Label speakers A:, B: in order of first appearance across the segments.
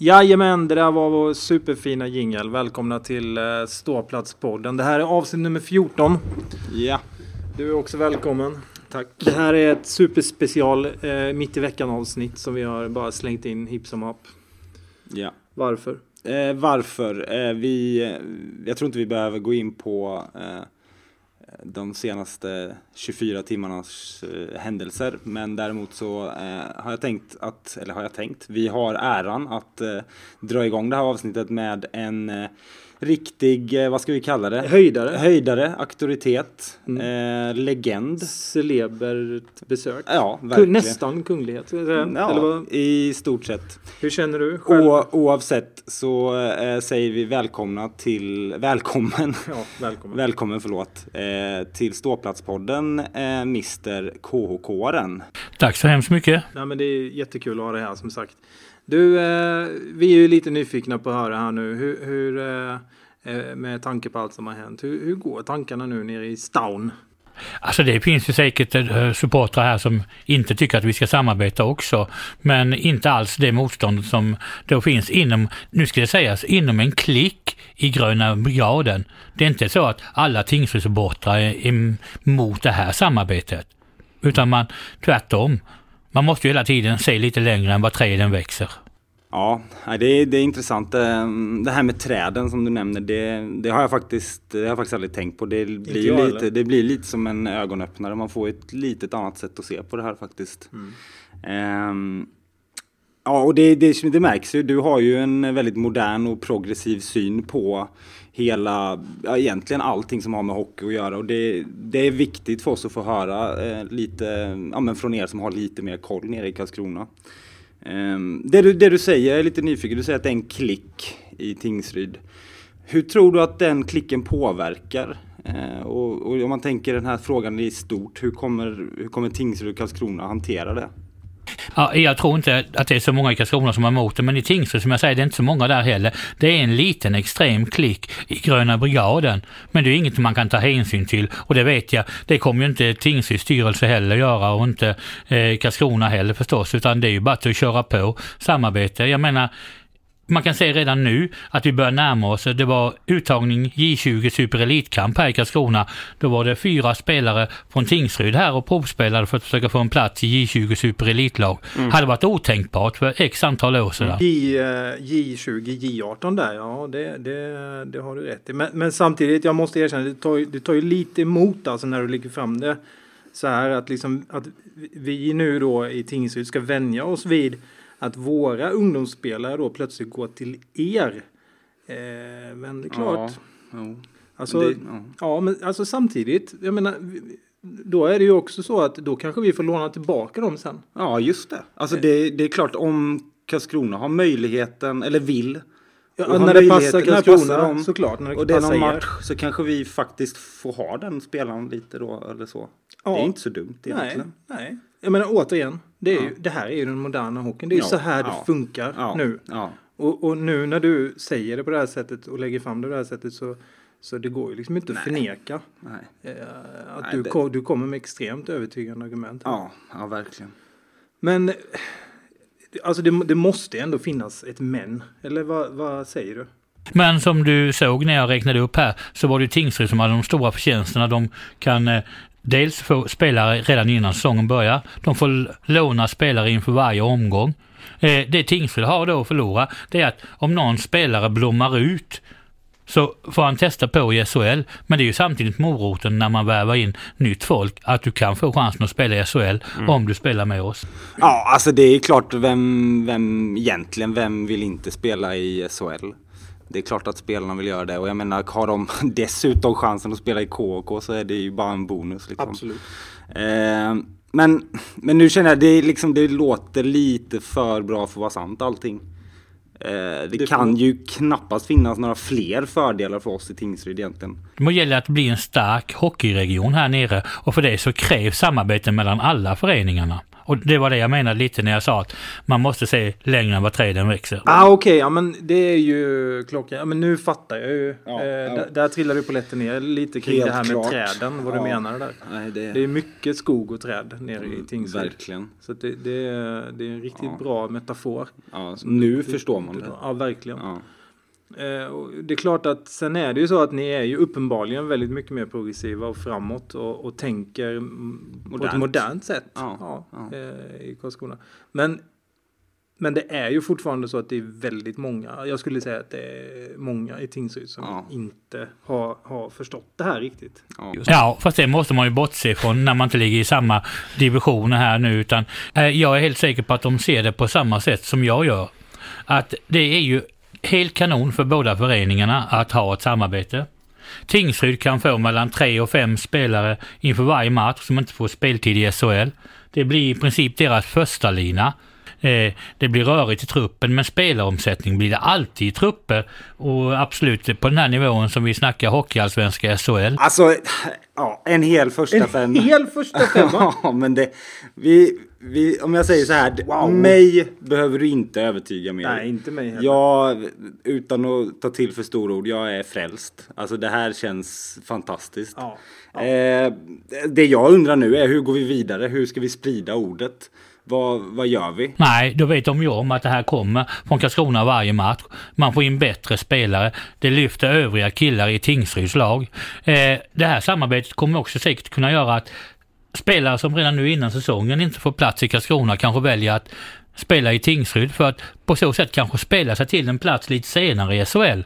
A: Jajamän, det där var vår superfina jingel. Välkomna till eh, Ståplatspodden. Det här är avsnitt nummer 14.
B: Ja.
A: Du är också välkommen.
B: Tack.
A: Det här är ett superspecial eh, mitt i veckan avsnitt som vi har bara slängt in hipp som happ.
B: Ja.
A: Varför?
B: Eh, varför? Eh, vi, eh, jag tror inte vi behöver gå in på eh, de senaste 24 timmarnas eh, händelser. Men däremot så eh, har jag tänkt att, eller har jag tänkt, vi har äran att eh, dra igång det här avsnittet med en eh, riktig, eh, vad ska vi kalla det?
A: Höjdare. Mm.
B: Höjdare, auktoritet, eh, legend.
A: Celebert besök.
B: Ja,
A: Kung,
B: verkligen. Mm,
A: nästan kunglighet. ska jag säga. Eller
B: Ja,
A: vad,
B: i stort sett.
A: hur känner du själv?
B: O, oavsett så eh, säger vi välkomna till, välkommen,
A: Ja, välkommen.
B: välkommen förlåt, eh, till Ståplatspodden eh, Mr KHK-aren.
C: Tack så hemskt mycket.
A: Nej, men det är jättekul att ha det här som sagt. Du, eh, vi är ju lite nyfikna på att höra här nu. Hur, hur, eh, eh, med tanke på allt som har hänt, hur, hur går tankarna nu nere i stan?
C: Alltså det finns ju säkert eh, supportrar här som inte tycker att vi ska samarbeta också, men inte alls det motstånd som då finns inom, nu ska det sägas, inom en klick i Gröna brigaden. Det är inte så att alla Tingsrydssupportrar är emot det här samarbetet, utan man tvärtom. Man måste ju hela tiden se lite längre än vad träden växer.
B: Ja, nej, det är, det är intressant. Eh, Det här med träden som du nämner, det, det, har, jag faktiskt, det har jag faktiskt aldrig tänkt på. Det blir, ju
A: jag
B: lite,
A: heller.
B: det blir lite som en ögonöppnare. Man får ett litet annat sätt att se på det här faktiskt.
A: Mm.
B: Ehm, Ja, och det, det, det märks ju. Du har ju en väldigt modern och progressiv syn på hela, ja, egentligen allting som har med hockey att göra. Och det, det är viktigt för oss att få höra eh, lite, ja, men från er som har lite mer koll nere i Karlskrona. Ehm, det, du, det du säger, jag är lite nyfiken, du säger att det är en klick i Tingsryd. Hur tror du att den klicken påverkar? Eh, och, och om man tänker den här frågan i stort, hur kommer, hur kommer Tingsryd och Karlskrona hantera det?
C: Ja, jag tror inte att det är så många i Karlskrona som har emot det, men i Tingsryd som jag säger, det är inte så många där heller. Det är en liten extrem klick i Gröna brigaden, men det är inget man kan ta hänsyn till och det vet jag, det kommer ju inte Tingsryds styrelse heller göra och inte eh, Karlskrona heller förstås, utan det är ju bara att köra på samarbete. Jag menar, man kan se redan nu att vi börjar närma oss. Det var uttagning J20 superelitkamp här i Karlskrona. Då var det fyra spelare från Tingsryd här och provspelade för att försöka få en plats i J20 superelitlag. Hade varit otänkbart för x antal år sedan.
A: J, eh, J20, J18 där, ja det, det, det har du rätt i. Men, men samtidigt, jag måste erkänna, det tar, ju- det tar ju lite emot alltså när du lägger fram det så här att, liksom, att vi nu då i Tingsryd ska vänja oss vid att våra ungdomsspelare då plötsligt går till er. Eh, men det är klart.
B: Ja, jo.
A: Alltså,
B: Det- ja.
A: Ja, men alltså samtidigt, jag menar, vi- då är det ju också så att då kanske vi får låna tillbaka dem sen.
B: Ja, just det. Alltså
A: Eh.
B: det, det är klart om Karlskrona har möjligheten, eller vill.
A: Ja,
B: och har
A: när det passar
B: möjligheten- när det
A: Karlskrona,
B: dem,
A: såklart. När det
B: och det är
A: passar
B: någon
A: er.
B: match så kanske vi faktiskt får ha den spelaren lite då eller så.
A: Ja.
B: Det är inte så dumt
A: Nej,
B: egentligen.
A: nej. Jag menar återigen, det, är ju, det här är ju den moderna hockeyn. Det är ju
B: Ja,
A: så här
B: ja,
A: det funkar
B: Ja,
A: nu.
B: Ja.
A: Och, och nu när du säger det på det här sättet och lägger fram det på det här sättet så, så det går ju liksom inte att förneka
B: Nej.
A: eh, att
B: Nej,
A: du,
B: det-
A: ko- du kommer med extremt övertygande argument.
B: Ja, ja, verkligen.
A: Men eh, alltså det, det måste ändå finnas ett men, eller vad, vad säger du?
C: Men som du såg när jag räknade upp här så var det ju Tingsryd som hade de stora förtjänsterna. De kan eh, dels få spelare redan innan säsongen börjar. De får l- låna spelare inför varje omgång. Eh, Det Tingsryd har då att förlora det är att om någon spelare blommar ut så får han testa på i SHL. Men det är ju samtidigt moroten när man värvar in nytt folk att du kan få chansen att spela i SHL om du spelar med oss.
B: Ja, alltså det är klart vem, vem egentligen, vem vill inte spela i SHL? Det är klart att spelarna vill göra det och jag menar har de dessutom chansen att spela i KHK så är det ju bara en bonus. Liksom.
A: Absolut.
B: Eh, men, men nu känner jag, det, är liksom, det låter lite för bra för att vara sant allting. Eh, det, kan ju knappast finnas några fler fördelar för oss i Tingsryd egentligen.
C: Det gäller att bli en stark hockeyregion här nere och för det så krävs samarbete mellan alla föreningarna. Och det var det jag menade lite när jag sa att man måste se längre än vad träden växer.
A: Ah, Okej, ja, men det är ju klockan. Ja, men nu fattar jag ju.
B: Ja,
A: eh,
B: ja.
A: Där, där trillar du på lätten ner lite kring
B: Helt
A: det här med
B: klart.
A: träden. Vad
B: Ja.
A: du menar där.
B: Nej,
A: Det är mycket skog och träd nere i Tingsryd.
B: Mm, Verkligen.
A: Så att det, det, är- det är en riktigt
B: Ja.
A: bra metafor.
B: Ja, nu förstår man det.
A: Ja, verkligen.
B: Ja.
A: Eh, och det är klart att sen är det ju så att ni är ju uppenbarligen väldigt mycket mer progressiva och framåt och, och tänker mm, på
B: Modernt.
A: ett modernt sätt
B: Ja,
A: ja,
B: ja.
A: eh, i Karlskrona. Men, men det är ju fortfarande så att det är väldigt många, jag skulle säga att det är många i Tingsryd som
B: Ja.
A: inte har, har förstått det här riktigt.
B: Ja.
C: Ja, fast det måste man ju bortse ifrån när man inte ligger i samma divisioner här nu. Utan, eh, jag är helt säker på att de ser det på samma sätt som jag gör. Att det är ju helt kanon för båda föreningarna att ha ett samarbete. Tingsryd kan få mellan tre och fem spelare inför varje match som inte får speltid i SHL. Det blir i princip deras första lina. Eh, det blir rörigt i truppen men spelaromsättning blir det alltid i trupper och absolut på den här nivån som vi snackar hockeyallsvenska SHL.
B: Alltså, ja, en hel första
A: En
B: femma.
A: hel första femma!
B: Ja, men det... Vi, vi, om jag säger så här,
A: Wow.
B: mig behöver du inte övertyga mer.
A: Nej, inte mig heller.
B: Jag, utan att ta till för stora ord, jag är frälst. Alltså det här känns fantastiskt.
A: Ja.
B: Eh, det jag undrar nu är hur går vi vidare? Hur ska vi sprida ordet? Vad, vad gör vi?
C: Nej, då vet de ju om att det här kommer från Karlskrona varje match. Man får in bättre spelare. Det lyfter övriga killar i Tingsryds lag. Eh, det här samarbetet kommer också säkert kunna göra att spelare som redan nu innan säsongen inte får plats i Karlskrona kanske väljer att spela i Tingsryd för att på så sätt kanske spela sig till en plats lite senare i SHL.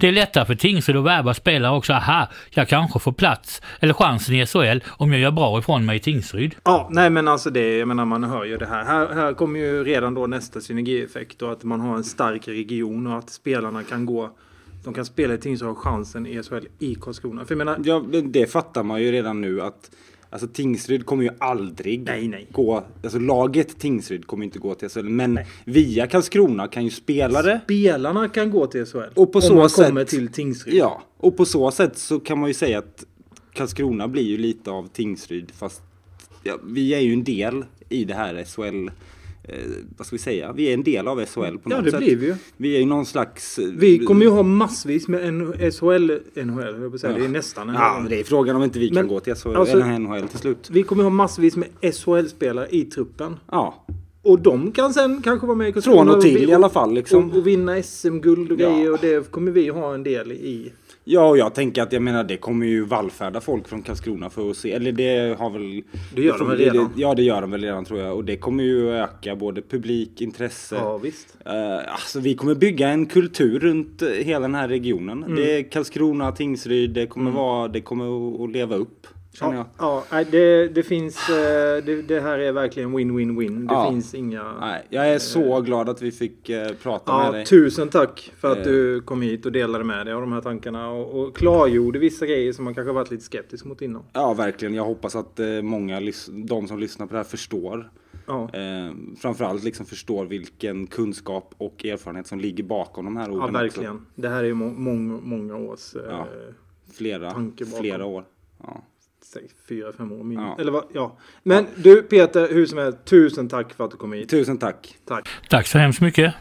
C: Det är lättare för Tingsryd att värva spelare också. Aha, jag kanske får plats eller chansen i SHL om jag gör bra ifrån mig i Tingsryd.
A: Ja, nej men alltså det, jag menar man hör ju det här. Här, här kommer ju redan då nästa synergieffekt och att man har en stark region och att spelarna kan gå, de kan spela i ting som har chansen i SHL i Karlskrona. För jag menar,
B: Ja, men det fattar man ju redan nu att alltså, Tingsryd kommer ju aldrig
A: Nej, nej.
B: gå... Alltså laget Tingsryd kommer inte gå till SHL. Men via Karlskrona kan ju spelare...
A: spelarna kan gå till SHL.
B: Och på
A: om
B: så
A: man
B: sätt-
A: kommer till Tingsryd.
B: Ja, och på så sätt så kan man ju säga att Karlskrona blir ju lite av Tingsryd fast ja, vi är ju en del i det här SHL. Eh, vad ska vi säga? Vi är en del av SHL på
A: Ja,
B: något
A: det
B: sätt.
A: blir vi ju.
B: Vi är ju någon slags... eh,
A: Vi kommer ju ha massvis med N- SHL, NHL, jag vill säga, det är nästan en
B: Ja, det är frågan om inte vi kan
A: Men,
B: gå till SHL
A: alltså-
B: eller NHL till slut.
A: Vi kommer ha massvis med SHL-spelare i truppen.
B: Ja,
A: Och de kan sen kanske vara med i Karlskrona.
B: från och till
A: vi-
B: i alla fall liksom.
A: Och, och vinna SM-guld och
B: Ja.
A: grejer och det kommer vi ha en del i.
B: Ja, och jag tänker att jag menar det kommer ju vallfärda folk från Karlskrona för att se. Eller det har väl...
A: Det gör de väl redan?
B: Ja, det gör de väl redan tror jag. Och det kommer ju öka både publik, intresse.
A: Ja, visst.
B: Eh, alltså vi kommer bygga en kultur runt eh, hela den här regionen.
A: Mm.
B: Det är Karlskrona, Tingsryd, det kommer vara, det kommer att- att leva upp. Känner jag.
A: Ja, ja nej, det, det finns... eh, Det, det här är verkligen win-win-win. Det
B: Ja.
A: finns inga...
B: Nej, jag är så glad att vi fick eh, prata med
A: Ja,
B: dig.
A: tusen tack för att
B: Eh.
A: du kom hit och delade med dig av de här tankarna och, och klargjorde vissa grejer som man kanske varit lite skeptisk mot innan.
B: Ja, verkligen. Jag hoppas att eh, många, lys- de som lyssnar på det här förstår.
A: Ja,
B: Eh, framförallt liksom förstår vilken kunskap och erfarenhet som ligger bakom de här orden.
A: ja
B: också.
A: verkligen. Det här är ju må- många, många års... eh,
B: Ja. Flera,
A: Tanke bakom.
B: flera år. Ja.
A: säg Fyra, fem år minst.
B: Ja.
A: Eller vad? Ja. Men du Peter, hur som helst, tusen tack för att du kom hit.
B: Tusen tack.
A: Tack.
C: Tack så hemskt mycket.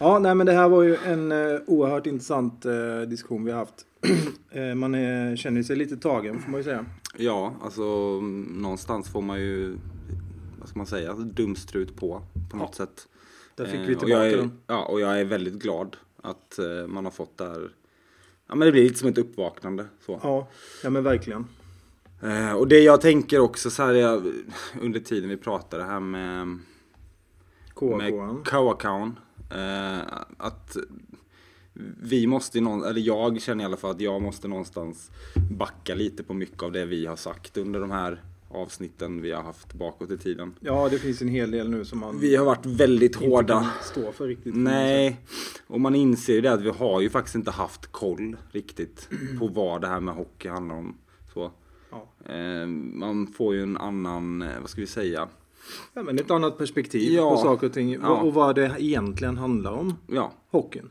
A: Ja, nej, men det här var ju en eh, oerhört intressant eh, diskussion vi har haft. eh, man eh, känner sig lite tagen får man ju säga.
B: Ja, alltså mm, någonstans får man ju, vad ska man säga, dumstrut på på något sätt.
A: Där fick vi
B: Eh, och jag
A: tillbaka
B: är,
A: den.
B: Ja, och jag är väldigt glad att eh, man har fått det här. Ja, men det blir lite som ett uppvaknande. Så.
A: Ja, ja men verkligen.
B: Eh, och det jag tänker också så här, jag, under tiden vi pratade här med
A: KK.
B: med Kawakaon. Eh, att vi måste, ju någon, eller jag känner i alla fall att jag måste någonstans backa lite på mycket av det vi har sagt under de här avsnitten vi har haft bakåt i tiden.
A: Ja, det finns en hel del nu som man
B: Vi har varit väldigt
A: inte kan
B: hårda.
A: stå för riktigt.
B: Nej, och man inser ju det att vi har ju faktiskt inte haft koll riktigt på vad det här med hockey handlar om. Så.
A: Ja.
B: Eh, man får ju en annan, eh, vad ska vi säga?
A: Ja, men ett annat perspektiv
B: Ja.
A: på saker och ting.
B: Ja.
A: Och, och vad det egentligen handlar om,
B: Ja,
A: hockeyn.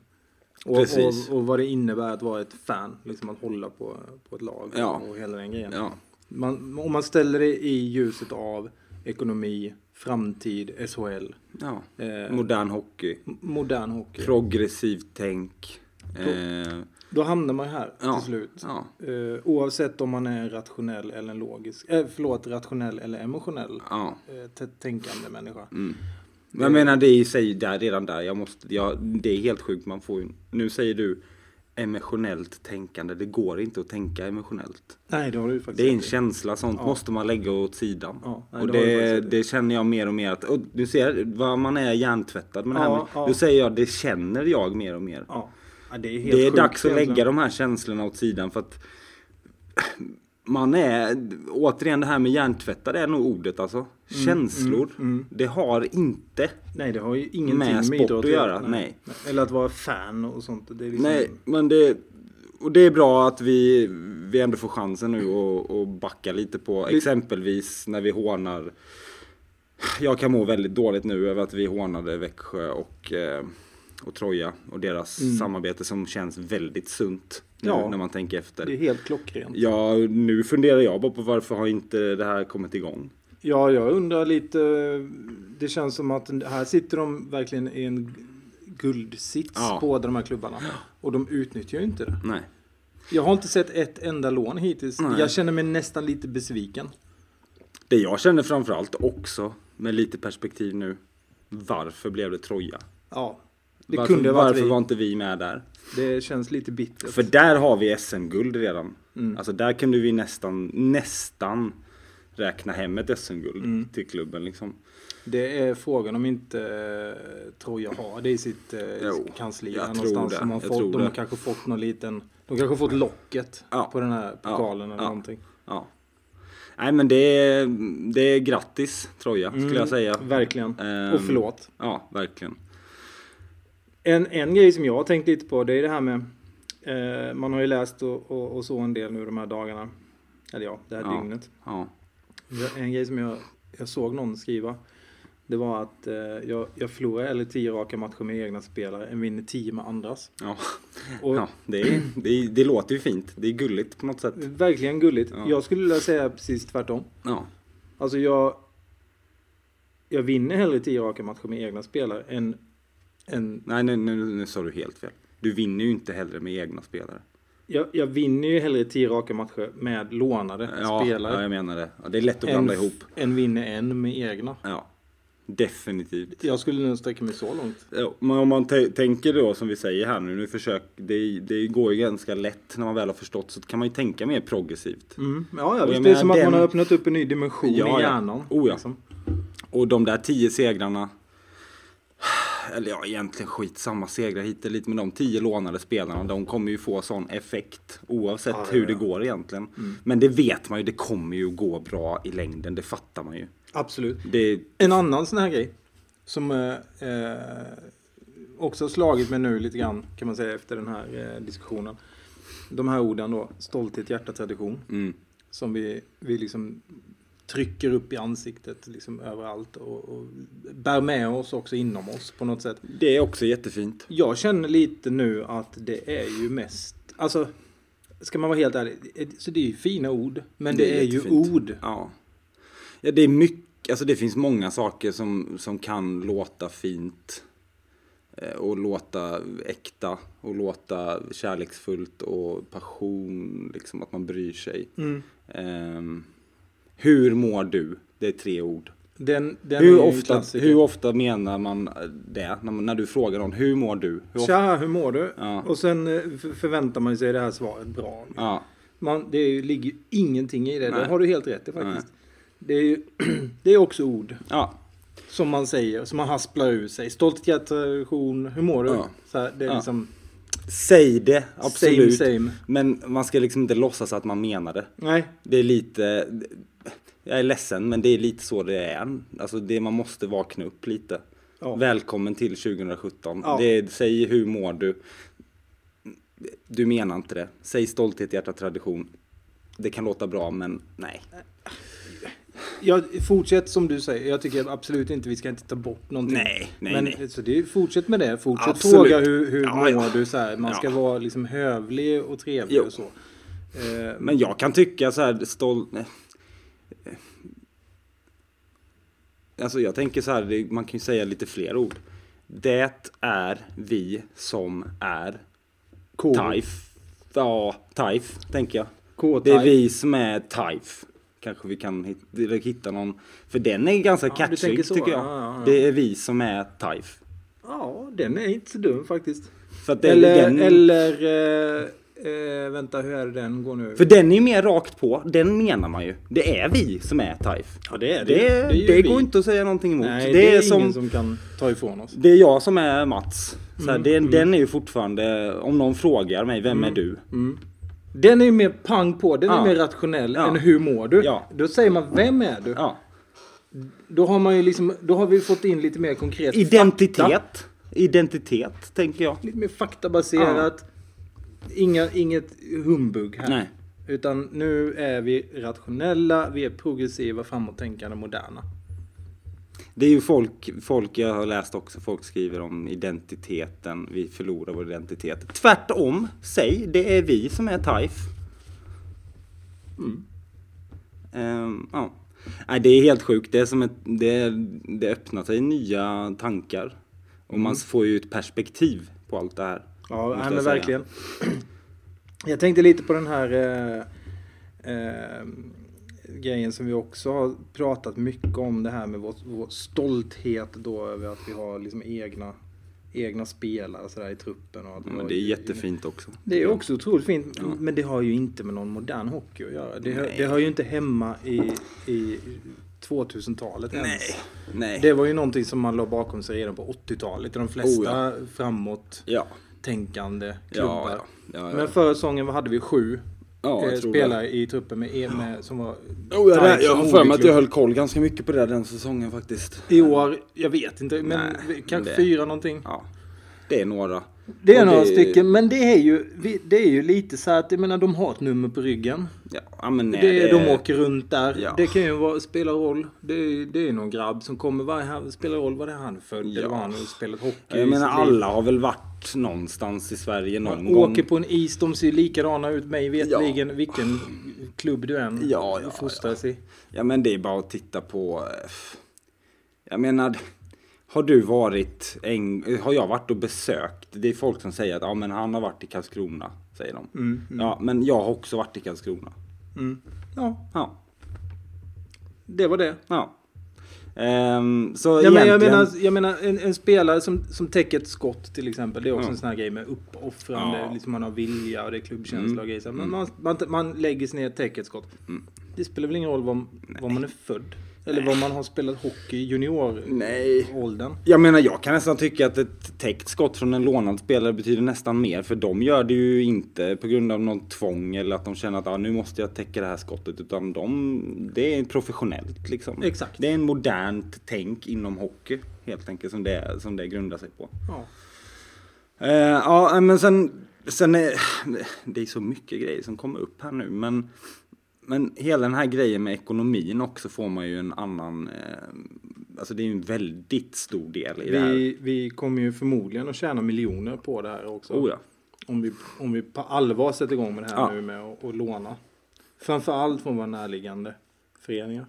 A: Och,
B: Precis.
A: och, och vad det innebär att vara ett fan. Liksom att hålla på, på ett lag
B: Ja.
A: och hela den grejen.
B: ja.
A: Man, om man ställer det i ljuset av ekonomi, framtid, SHL.
B: Ja.
A: Eh,
B: Modern hockey.
A: m- modern hockey.
B: Progressivt tänk. Eh,
A: Då hamnar man här
B: Ja.
A: till slut.
B: ja.
A: Eh, oavsett om man är rationell eller en logisk, eh, förlåt, rationell eller emotionell
B: ja.
A: eh, t- tänkande människa.
B: Mm. Men jag menar det är i sig där, redan där. Jag måste, jag, det är helt sjukt. Man får ju, nu säger du emotionellt tänkande. Det går inte att tänka emotionellt.
A: Nej, det har du faktiskt
B: Det är en
A: rätt i.
B: känsla. Sånt
A: Ja.
B: måste man lägga åt sidan.
A: Ja, nej,
B: och
A: det har du
B: det,
A: faktiskt rätt i.
B: det känner jag mer och mer. Att, och du ser vad man är hjärntvättad med det
A: Ja,
B: här. Med,
A: ja.
B: Då säger jag det känner jag mer och mer.
A: Ja. Ja, det är, helt
B: Det är
A: sjukt alltså.
B: dags att
A: egentligen.
B: lägga de här känslorna åt sidan för att man är, återigen det här med hjärntvättad är nog ordet alltså.
A: Mm,
B: Känslor, det har inte.
A: Nej, det har ju ingenting
B: med sport att göra, nej.
A: Eller att vara fan och sånt. Det är liksom,
B: Nej, men det, och det är bra att vi, vi ändå får chansen nu att- att backa lite på exempelvis när vi hånar. Jag kan må väldigt dåligt nu över att vi hånade Växjö och, eh, och Troja och deras samarbete som känns väldigt sunt nu
A: Mm. Ja.
B: när man tänker efter.
A: Det är helt klockrent.
B: Ja, nu funderar jag bara på varför har inte det här kommit igång?
A: Ja, jag undrar lite. Det känns som att här sitter de verkligen i en guldsits
B: Ja.
A: båda de här klubbarna. Och de utnyttjar ju inte det.
B: Nej.
A: Jag har inte sett ett enda lån hittills.
B: Nej.
A: Jag känner mig nästan lite besviken.
B: Det jag känner framförallt också, med lite perspektiv nu, varför blev det Troja?
A: Ja, det
B: varför
A: kunde ha varit
B: varför
A: vi.
B: var inte vi med där?
A: Det känns lite bittert. Mm.
B: För där har vi SM-guld redan. Alltså där kunde vi nästan, nästan räkna hem ett SM-guld
A: Mm.
B: till klubben liksom.
A: Det är frågan om inte eh, Troja har det i sitt eh,
B: Jo,
A: kansli.
B: jag
A: där
B: tror
A: någonstans
B: det.
A: som har
B: Jag
A: fått,
B: tror
A: de har
B: det.
A: kanske fått någon liten... De kanske har fått locket
B: Ja.
A: på den här
B: Ja.
A: pokalen eller
B: Ja.
A: någonting.
B: Ja. Nej men det är, det är grattis Troja skulle jag säga.
A: Verkligen.
B: Ehm,
A: Mm. Och förlåt.
B: Ja, verkligen.
A: En, en grej som jag har tänkt lite på det är det här med... Eh, man har ju läst och, och, och så en del nu de här dagarna. Eller ja, det här
B: Ja.
A: dygnet.
B: Ja.
A: Det- En grej som jag, jag såg någon skriva. Det var att eh, jag, jag förlorar eller tio raka matcher med egna spelare, en vinner tio med andras.
B: Ja.
A: Och
B: ja det, är, det, är, det låter ju fint. Det är gulligt på något sätt.
A: Verkligen gulligt.
B: Ja.
A: Jag skulle vilja säga precis tvärtom.
B: Ja.
A: Alltså jag... Jag vinner hellre tio raka matcher med egna spelare än... än
B: Nej, nu, nu, nu sa du helt fel. Du vinner ju inte heller med egna spelare.
A: jag, jag vinner ju hellre tio raka matcher med lånade
B: Ja, ja
A: spelare.
B: jag menar det. Ja, det är lätt att
A: än,
B: blanda ihop.
A: än vinner en med egna.
B: Ja, definitivt.
A: Jag skulle nog sträcka mig så långt.
B: Ja, Men om man t- tänker då som vi säger här nu, nu försök, det, det går ju ganska lätt när man väl har förstått så kan man ju tänka mer progressivt.
A: Mm. Ja, ja
B: jag
A: visst. Det är
B: menar,
A: som att man
B: den-
A: har öppnat upp en ny dimension
B: Ja, ja.
A: i hjärnan.
B: Oh, ja.
A: liksom.
B: Och de där tio segrarna, eller ja egentligen skitsamma segrar hit eller dit, men de tio lånade spelarna de kommer ju få sån effekt oavsett
A: Ja, ja,
B: hur
A: ja.
B: det går egentligen.
A: Mm.
B: Men det vet man ju, det kommer ju gå bra i längden, det fattar man ju.
A: Absolut.
B: Det,
A: En annan sån här grej som eh, eh, också har slagit mig nu lite grann kan man säga efter den här eh, diskussionen. De här orden då, stolthet, hjärta, tradition.
B: mm,
A: Som vi, vi liksom trycker upp i ansiktet liksom överallt och, och bär med oss också inom oss på något sätt.
B: det är också jättefint.
A: Jag känner lite nu att det är ju mest, alltså ska man vara helt ärlig, det- så det är ju fina ord, men det, är, ju
B: jättefint.
A: ord.
B: Ja. ja, det är mycket. Alltså det finns många saker som, som kan låta fint. eh, Och låta äkta. Och låta kärleksfullt och passion. Liksom att man bryr sig.
A: Mm.
B: Ehm, hur mår du? Det är tre ord.
A: Den, den är ju
B: Hur
A: en
B: ofta,
A: klassiker.
B: hur ofta menar man det? När, man- när du frågar någon, hur mår du? Hur ofta?
A: Tja, hur mår du?
B: Ja.
A: Och sen eh, f- förväntar man sig det här svaret bra.
B: Ja,
A: Man, det är ju, ligger ju ingenting i det. Det
B: Nej.
A: har du helt rätt i faktiskt. Det är, ju, det är också ord
B: ja,
A: som man säger, som man hasplar ur sig. Stolthet, gratulation, hur mår du?
B: Ja.
A: Så här, det är
B: Ja.
A: liksom
B: säg det. Absolut.
A: same same.
B: Men man ska liksom inte låtsas att man menar det.
A: Nej,
B: Det är lite... Jag är ledsen, men det är lite så det är. Alltså det, man måste vakna upp lite.
A: Ja.
B: Välkommen till 2017.
A: Ja.
B: Det, säg hur mår du? Du menar inte det. Säg stolthet, hjärta, tradition. Det kan låta bra, men nej.
A: jag, fortsätt som du säger. Jag tycker absolut inte vi ska inte ta bort någonting.
B: Nej, nej,
A: Men,
B: nej.
A: Så det är, fortsätt med det. Fortsätt
B: Absolut.
A: fråga hur, hur
B: Ja,
A: mår
B: ja.
A: du? Så här. Man
B: Ja.
A: ska vara liksom hövlig och trevlig
B: Jo.
A: och så. Eh,
B: Men jag kan tycka så här, stol... Alltså jag tänker så här, det- man kan ju säga lite fler ord. Det är vi som är
A: K-
B: TAIF. Ja, TAIF tänker jag. Det
A: K-type.
B: är vi som är TAIF. Kanske vi kan hit- eller hitta någon. För den är ganska
A: Ja, du tänker
B: catchig
A: så.
B: tycker jag.
A: Ja, ja, ja.
B: Det är vi som är TAIF.
A: Ja, den är inte så dum faktiskt.
B: För, att den,
A: Eller,
B: den,
A: eller eh, eh, vänta, hur är det den går nu?
B: för den är ju mer rakt på. Den menar man ju. Det är vi som är TAIF.
A: ja, det är
B: Det, det,
A: ju vi.
B: går inte att säga någonting emot.
A: Nej, det, är,
B: som,
A: ingen som kan ta ifrån oss.
B: Det är jag som är Mats. Så
A: Mm,
B: här, det, Den är ju fortfarande, om någon frågar mig, vem är du?
A: Mm. Den är ju mer pang på, den
B: Ja.
A: är mer rationell
B: Ja.
A: än hur mår du?
B: Ja.
A: Då säger man, vem är du?
B: Ja.
A: Då har man ju liksom, då har vi fått in lite mer konkret fakta.
B: Identitet. Identitet, tänker jag.
A: Lite mer faktabaserat. Inga, inget humbug här.
B: Nej.
A: Utan nu är vi rationella, vi är progressiva, framåttänkande, moderna.
B: Det är ju folk, folk jag har läst också, folk skriver om identiteten, vi förlorar vår identitet. Tvärtom, säg, det är vi som är TAIF. Mm. Ehm, ja. Nej, det är helt sjukt, det, är som ett, det, det öppnar sig nya tankar. Och
A: Mm.
B: man får ju ett perspektiv på allt det här.
A: Ja,
B: måste
A: nej,
B: jag
A: men
B: säga.
A: verkligen. Jag tänkte lite på den här eh, eh, grejen som vi också har pratat mycket om. Det här med vår, vår stolthet då över att vi har liksom egna, egna spelare så där, i truppen. Och att vi
B: Ja, men
A: har-
B: det är jättefint också.
A: Det är också otroligt fint, men det har ju inte med någon modern hockey att göra. Det, hör,
B: Nej.
A: det hör ju inte hemma i, i 2000-talet ens.
B: Nej.
A: Det var ju någonting som man la bakom sig redan på 80-talet i de flesta framåt
B: Ja.
A: tänkande klubbar.
B: Oh, Ja, ja. ja, ja.
A: Men förra säsongen vad hade vi sju
B: Ja, jag
A: eh,
B: tror
A: spelare i truppen med, e- med, som var...
B: Oh, jag,
A: Tack,
B: jag har
A: som
B: för mig att
A: olycklig.
B: jag höll koll ganska mycket på det den säsongen faktiskt.
A: I år, jag vet inte, men
B: Nej,
A: vi- kanske
B: det-
A: fyra någonting.
B: Ja, det är några.
A: Det är
B: Och
A: några stycken, men det är, ju, vi- det är ju lite så här att, jag menar de har ett nummer på ryggen.
B: Ja, ja, men nej,
A: det, de åker runt där.
B: Ja.
A: Det kan ju vara, spela roll. Det är, det är någon grabb som kommer. Vad är han, spelar roll vad det är han född eller
B: Ja.
A: vad han har spelat hockey
B: Jag
A: i
B: menar
A: sitt liv.
B: alla har väl varit någonstans i Sverige någon
A: Man
B: gång.
A: åker på en is, de ser likadana ut mig vetligen vilken klubb du än
B: Ja, ja,
A: fostras i.
B: Ja men det är bara att titta på... eh, Jag menar, har du varit... En, har jag varit och besökt? Det är folk som säger att ja, men han har varit i Karlskrona, säger de. Ja, men jag har också varit i Karlskrona.
A: Ja,
B: Ja,
A: det var det.
B: ja. Ehm, så
A: Ja, men
B: egentligen...
A: jag menar, alltså- jag menar en, en spelare som, som täcker ett skott till exempel. Det är också
B: Ja.
A: en sån här grej med uppoffrande.
B: Ja. Mm.
A: Liksom man har vilja och det är klubbkänsla och grejer. Så här, Men man, man, man lägger sig ner och täcker ett skott. Det spelar väl ingen roll var, var man är född. Eller var man har spelat hockey i
B: Nej.
A: junioråldern.
B: Jag menar, jag kan nästan tycka att ett täckt skott från en lånad spelare betyder nästan mer. För de gör det ju inte på grund av någon tvång eller att de känner att ah, nu måste jag täcka det här skottet. Utan de, det är professionellt liksom.
A: Exakt.
B: Det är en modernt tänk inom hockey helt enkelt som det, som det grundar sig på.
A: Ja.
B: Eh, ja, men sen... sen är, det är så mycket grejer som kommer upp här nu, men... Men hela den här grejen med ekonomin också får man ju en annan... Eh, alltså det är ju en väldigt stor del i det här.
A: Vi, vi kommer ju förmodligen att tjäna miljoner på det här också.
B: Oh, ja.
A: om, vi, om vi på allvar sätter igång med det här
B: Ja.
A: nu med att och låna. Framförallt från våra närliggande föreningar.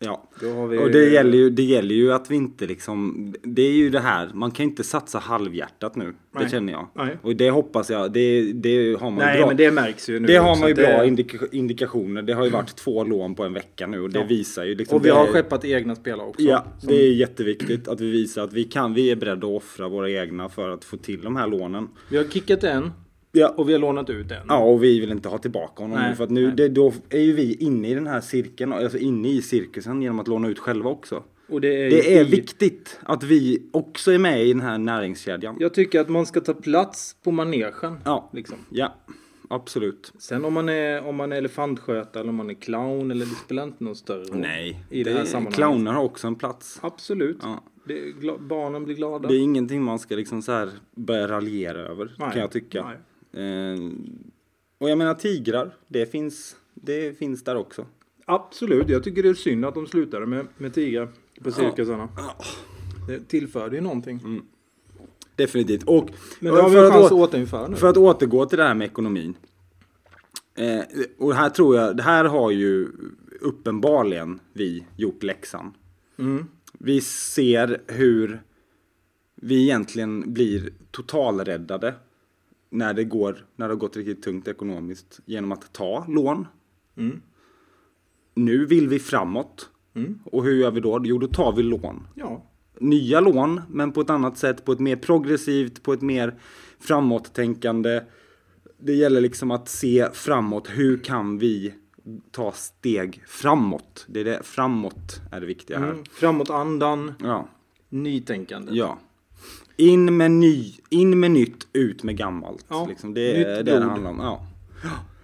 B: ja.
A: Då har vi
B: Och det gäller, ju, det gäller ju att vi inte liksom... Det är ju det här, man kan ju inte satsa halvhjärtat nu.
A: Nej.
B: Det känner jag.
A: Nej.
B: Och det hoppas jag, det, det har man ju
A: Nej,
B: bra.
A: men det märks ju nu.
B: Det har
A: också
B: man ju
A: att det-
B: bra indika- indikationer. Det har ju varit två lån på en vecka nu och det
A: Ja.
B: visar ju liksom...
A: Och vi har
B: det-
A: skeppat egna spelare också.
B: Ja,
A: som-
B: det är jätteviktigt att vi visar att vi kan. Vi är beredda att offra våra egna för att få till de här lånen.
A: Vi har kickat en
B: Ja, och,
A: och vi har lånat ut en.
B: ja, och vi vill inte ha tillbaka honom
A: Nej,
B: nu för att nu
A: nej.
B: det, då är ju vi inne i den här cirkeln, alltså inne i cirkusen genom att låna ut själva också.
A: Och det är,
B: Det
A: ju
B: är
A: skit.
B: viktigt att vi också är med i den här näringskedjan.
A: Jag tycker att man ska ta plats på manegen.
B: Ja,
A: Liksom.
B: ja absolut.
A: Sen om man, är, om man är elefantskötare eller om man är clown eller det spelar inte någon större roll.
B: Nej,
A: I det, här sammanhanget.
B: clowner har också en plats.
A: Absolut.
B: Ja.
A: Det är gla- barnen blir glada.
B: Det är ingenting man ska liksom så här börja raljera över
A: Nej,
B: kan jag tycka. Eh, och jag menar tigrar, det finns, det finns där också.
A: Absolut, jag tycker det är synd att de slutade med, med tigrar på cirkusarna. Det tillförde ju någonting.
B: Definitivt. Och,
A: Men
B: och
A: nu har vi
B: Mm. för,
A: en
B: att
A: chans att
B: å-
A: återinföra nu.
B: för att återgå till det här med ekonomin. Eh, och här tror jag, det här har ju uppenbarligen vi gjort läxan.
A: Mm.
B: Vi ser hur vi egentligen blir totalräddade när det, går, när det har gått riktigt tungt ekonomiskt genom att ta lån.
A: Mm.
B: Nu vill vi framåt.
A: Mm.
B: Och hur gör vi då? Jo, då tar vi lån.
A: Ja.
B: Nya lån, men på ett annat sätt, på ett mer progressivt, på ett mer framåttänkande. Det gäller liksom att se framåt. Hur kan vi ta steg framåt? Det är det, framåt är det viktiga här.
A: Mm. Framåtandan,
B: Ja.
A: nytänkande.
B: Ja. In med, ny, in med nytt, ut med gammalt.
A: Ja,
B: Liksom. Det är
A: nytt
B: det det
A: blod.
B: handlar om. Ja.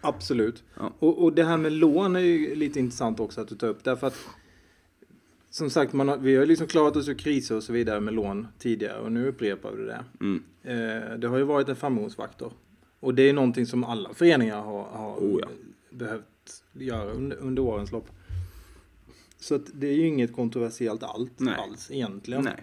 A: Absolut.
B: Ja.
A: Och, och det här med lån är ju lite intressant också att du tar upp. Därför att som sagt, man har, vi har ju liksom klarat oss ur kriser och så vidare med lån tidigare och nu upprepar vi det.
B: Mm.
A: Eh, det har ju varit en framgångsfaktor. Och det är någonting som alla föreningar har, har
B: Oh ja.
A: behövt göra under, under årens lopp. Så att det är ju inget kontroversiellt allt,
B: Nej.
A: alls egentligen.
B: Nej.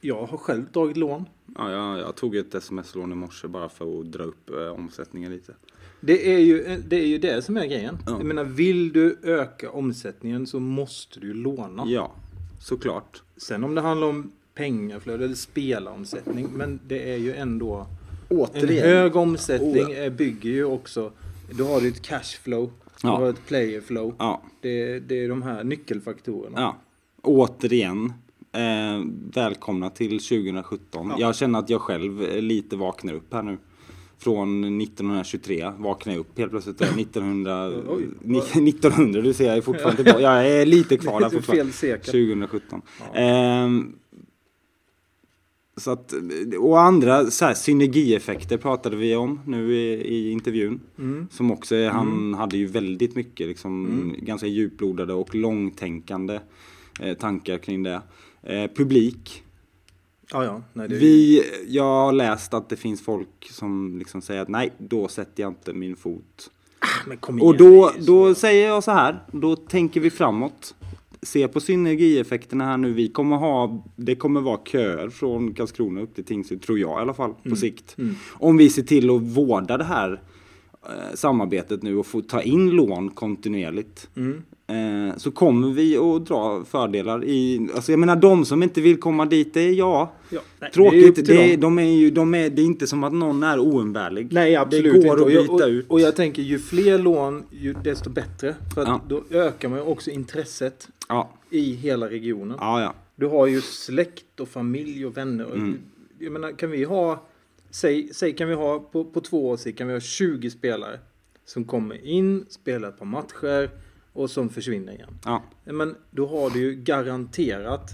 A: Jag har själv dragit lån.
B: Ja, jag, jag tog ett sms-lån i morse bara för att dra upp eh, omsättningen lite.
A: Det är ju det, är ju det som är grejen.
B: Ja.
A: Jag menar, vill du öka omsättningen så måste du låna.
B: Ja, såklart.
A: Sen om det handlar om pengaflöde eller spelaromsättning, men det är ju ändå... En
B: Återigen.
A: hög omsättning
B: Oh,
A: eh, bygger ju också... Då har du ett cashflow, du
B: Ja.
A: har ett playerflow.
B: Ja,
A: Det, det är de här nyckelfaktorerna.
B: ja. Återigen. Eh, välkomna till 2017.
A: Ja.
B: Jag känner att jag själv eh, lite vaknar upp här nu. Från 1923 vaknar jag upp helt plötsligt. Eh, 1900,
A: Oj.
B: ni- 1900, du ser jag är fortfarande tillbaka. Jag är lite kvar där
A: Det är typ
B: fortfarande.
A: fel sekel.
B: 2017.
A: Ja.
B: Ehm, så att, och andra så här, synergieffekter pratade vi om nu i, i intervjun.
A: Mm.
B: Som också, är- han hade ju väldigt mycket liksom, ganska djuplodade och långtänkande eh, tankar kring det. Eh, publik.
A: Ja, ja. Nej, det är ju...
B: Vi, jag har läst att det finns folk som liksom säger att nej, då sätter jag inte min fot.
A: Men kom igen.
B: Och då,
A: det är ju så-
B: då säger jag så här, då tänker vi framåt. Se på synergieffekterna här nu. Vi kommer ha, det kommer vara köer från Karlskrona upp till Tingsryd, tror jag i alla fall, på sikt.
A: Mm.
B: Om vi ser till att vårda det här eh, samarbetet nu och få ta in lån kontinuerligt.
A: Mm.
B: Eh, så kommer vi att dra fördelar i, alltså jag menar de som inte vill komma dit, det är jag.
A: Ja, nej, det är upp till
B: Tråkigt,
A: dem.
B: det är, de är ju, de är, det är inte som att någon är oumbärlig.
A: Nej, absolut
B: Det går
A: inte.
B: att
A: Och jag, och,
B: byta ut.
A: och jag tänker ju fler lån, ju, desto bättre. För att
B: Ja.
A: då ökar man ju också intresset
B: Ja,
A: i hela regionen.
B: ja, ja.
A: Du har ju släkt och familj och vänner. Och-
B: Mm.
A: Jag menar, kan vi ha, säg, säg kan vi ha på, på två års sikt kan vi ha 20 spelare som kommer in, spelar ett par matcher och som försvinner igen.
B: ja.
A: Men då har du ju garanterat,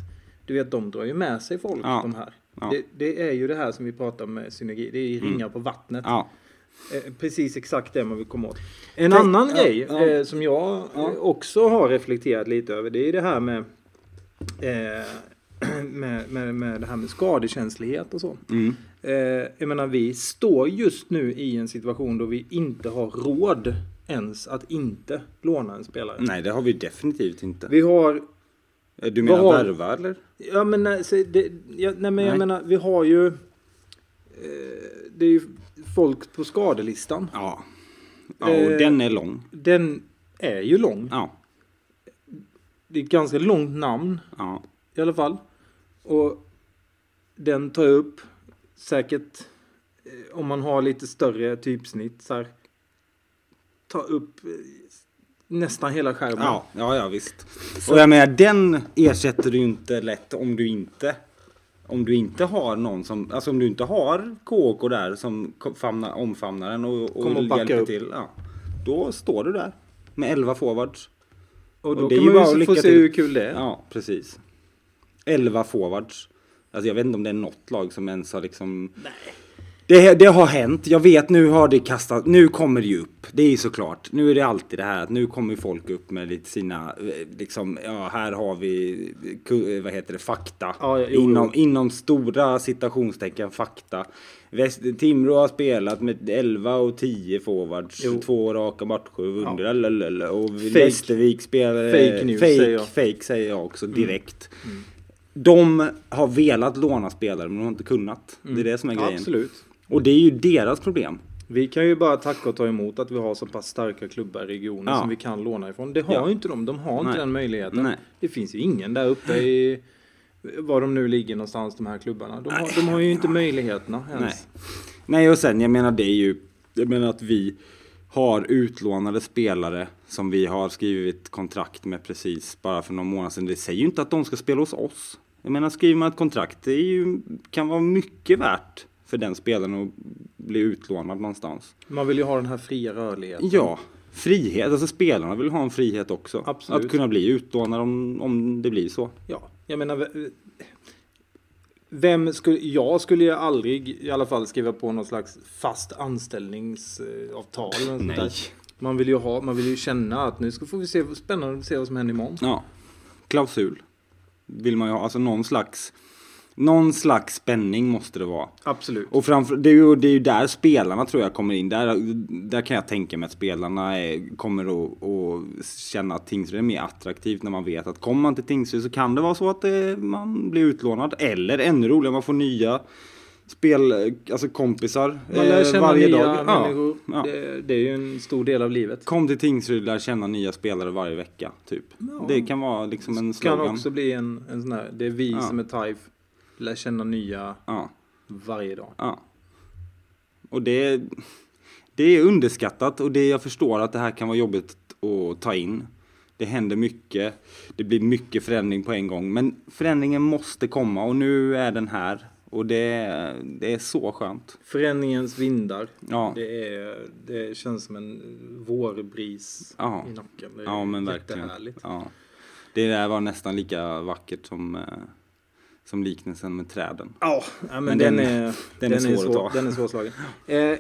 A: du vet de drar ju med sig folk
B: Ja.
A: de här.
B: Ja. Mm.
A: Det, det är ju det här som vi pratar om med synergi, det är ringar på vattnet.
B: ja.
A: Eh, Precis exakt det man vill komma åt. En
B: Tänk-
A: annan
B: ja,
A: grej
B: ja.
A: Eh, som jag eh,
B: Ja.
A: också har reflekterat lite över det är det här med, eh, med, med, med, det här med skadekänslighet och så.
B: Mm.
A: Eh, jag menar, vi står just nu i en situation då vi inte har råd ens att inte låna en spelare.
B: Nej, det har vi definitivt inte.
A: Vi har
B: du menar
A: vad har-
B: värva eller?
A: Ja men, nej, så det, ja, nej, men
B: Nej.
A: jag menar, vi har ju... Eh, det är ju folk på skadelistan.
B: Ja. Ja, och
A: Eh.
B: den är lång.
A: Den är ju lång.
B: Ja.
A: Det är ett ganska långt namn
B: Ja.
A: i alla fall. Och den tar upp säkert, eh, om man har lite större typsnitt, så här, tar upp eh, nästan hela skärmen.
B: Ja, ja, ja visst. Och jag menar, den ersätter du ju inte lätt om du inte om du inte har någon som, alltså om du inte har KK där som ko- famnar, omfamnar den och, och
A: Kommer och backar
B: hjälper
A: upp.
B: till. Ja. Då står du där med 11 forwards.
A: och då
B: och det är ju
A: kan
B: bara
A: man ju
B: att
A: få
B: lycka
A: se
B: till.
A: hur kul det är.
B: Ja, precis. 11 forwards. Alltså jag vet inte om det är något lag som ens har liksom... Nej. Det, det har hänt. Jag vet, nu har det kastat... Nu kommer det ju upp. Det är ju såklart. Nu är det alltid det här att nu kommer folk upp med lite sina... eh, Liksom, ja, här har vi... eh, ku- eh, Vad heter det? Fakta.
A: Ja, ja, jo, jo.
B: inom, inom stora citationstecken fakta. Väst, Timrå har spelat med 11 och 10 forwards.
A: Jo.
B: Två raka matcher. Vunnit. lalalala. Och
A: Fake.
B: Västervik spelar
A: Fake news,
B: fake,
A: säger jag. Mm.
B: fake säger jag också direkt. De har velat låna spelare men de har inte kunnat. Det är det som är grejen.
A: Mm. Absolut.
B: Och det är ju deras problem.
A: Vi kan ju bara tacka och ta emot att vi har så pass starka klubbar i regionen
B: Ja.
A: som vi kan låna ifrån. Det har
B: Ja.
A: ju inte de. De har inte
B: Nej.
A: den möjligheten.
B: Nej.
A: Det finns ju ingen där uppe i var de nu ligger någonstans, de här klubbarna. De har, de har ju inte möjligheterna ens.
B: Nej. Nej, och sen jag menar det är ju, jag menar att vi har utlånade spelare som vi har skrivit kontrakt med precis bara för någon månad sedan. Det säger ju inte att de ska spela hos oss. Jag menar skriver man ett kontrakt, det är ju, kan vara mycket värt för den spelaren att bli utlånad någonstans.
A: Man vill ju ha den här fria rörligheten.
B: Ja, frihet. Alltså spelarna vill ha en frihet också.
A: Absolut.
B: Att kunna bli utlånad om, om det blir så.
A: Ja, jag menar... v- Vem skulle, jag skulle ju aldrig i alla fall skriva på någon slags fast anställningsavtal. eller något sånt där. Man vill ju ha, man vill ju känna att nu ska får vi se, spännande att se vad som händer imorgon.
B: Ja, klausul. Vill man ju ha, alltså någon slags, någon slags spänning måste det vara.
A: Absolut.
B: Och framför, det, är ju, det är ju där spelarna tror jag kommer in. Där, där kan jag tänka mig att spelarna är, kommer att, att känna att Tingsryd är mer attraktivt när man vet att kommer man till Tingsryd så kan det vara så att det, man blir utlånad. Eller ännu roligare, man får nya spel, alltså kompisar
A: Man lär
B: eh,
A: känna
B: varje
A: nya
B: dag. Ja,
A: människor.
B: ja.
A: Det, det är ju en stor del av livet.
B: Kom till Tingsryd, lär känna nya spelare varje vecka. Typ. Det kan vara liksom en
A: kan
B: slogan.
A: också bli en, en sån här, det är vi
B: Ja.
A: som är TAIF, lär känna nya
B: Ja.
A: varje dag.
B: Ja. Och det, det är underskattat och det jag förstår att det här kan vara jobbigt att ta in. Det händer mycket. Det blir mycket förändring på en gång. Men förändringen måste komma och nu är den här. Och det, det är så skönt.
A: Förändringens vindar.
B: Ja,
A: Det, är, det känns som en vårbris
B: Ja.
A: i nacken. Det är
B: ja men verkligen.
A: jättehärligt.
B: Ja. Det där var nästan lika vackert som, eh, som liknelsen med träden.
A: Ja, ja, men,
B: Men
A: den,
B: den-
A: är,
B: den är svår att ta.
A: Den är svårslagen. Eh, eh,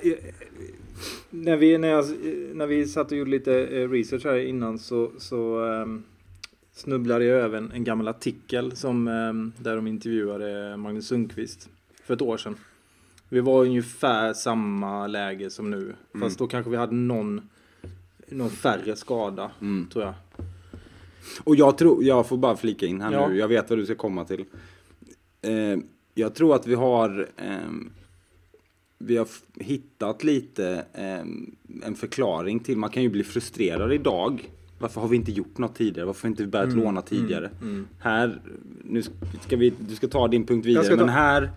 A: när, vi, när, jag, när vi satt och gjorde lite eh, research här innan så, så ehm, snubblade jag över en, en gammal artikel som, ehm, där de intervjuade Magnus Sundqvist för ett år sedan. Vi var i ungefär samma läge som nu.
B: Mm.
A: Fast då kanske vi hade någon, någon färre skada,
B: Mm.
A: tror jag.
B: Och jag tror, jag får bara flika in här
A: Ja.
B: nu, jag vet vad du ska komma till. Eh, jag tror att vi har, ehm, vi har f- hittat lite ehm, en förklaring till, man kan ju bli frustrerad idag. Varför har vi inte gjort något tidigare? Varför har inte vi börjat låna tidigare?
A: mm.
B: Här, nu ska vi, du ska ta din punkt
A: Jag ska
B: vidare,
A: ta-
B: men här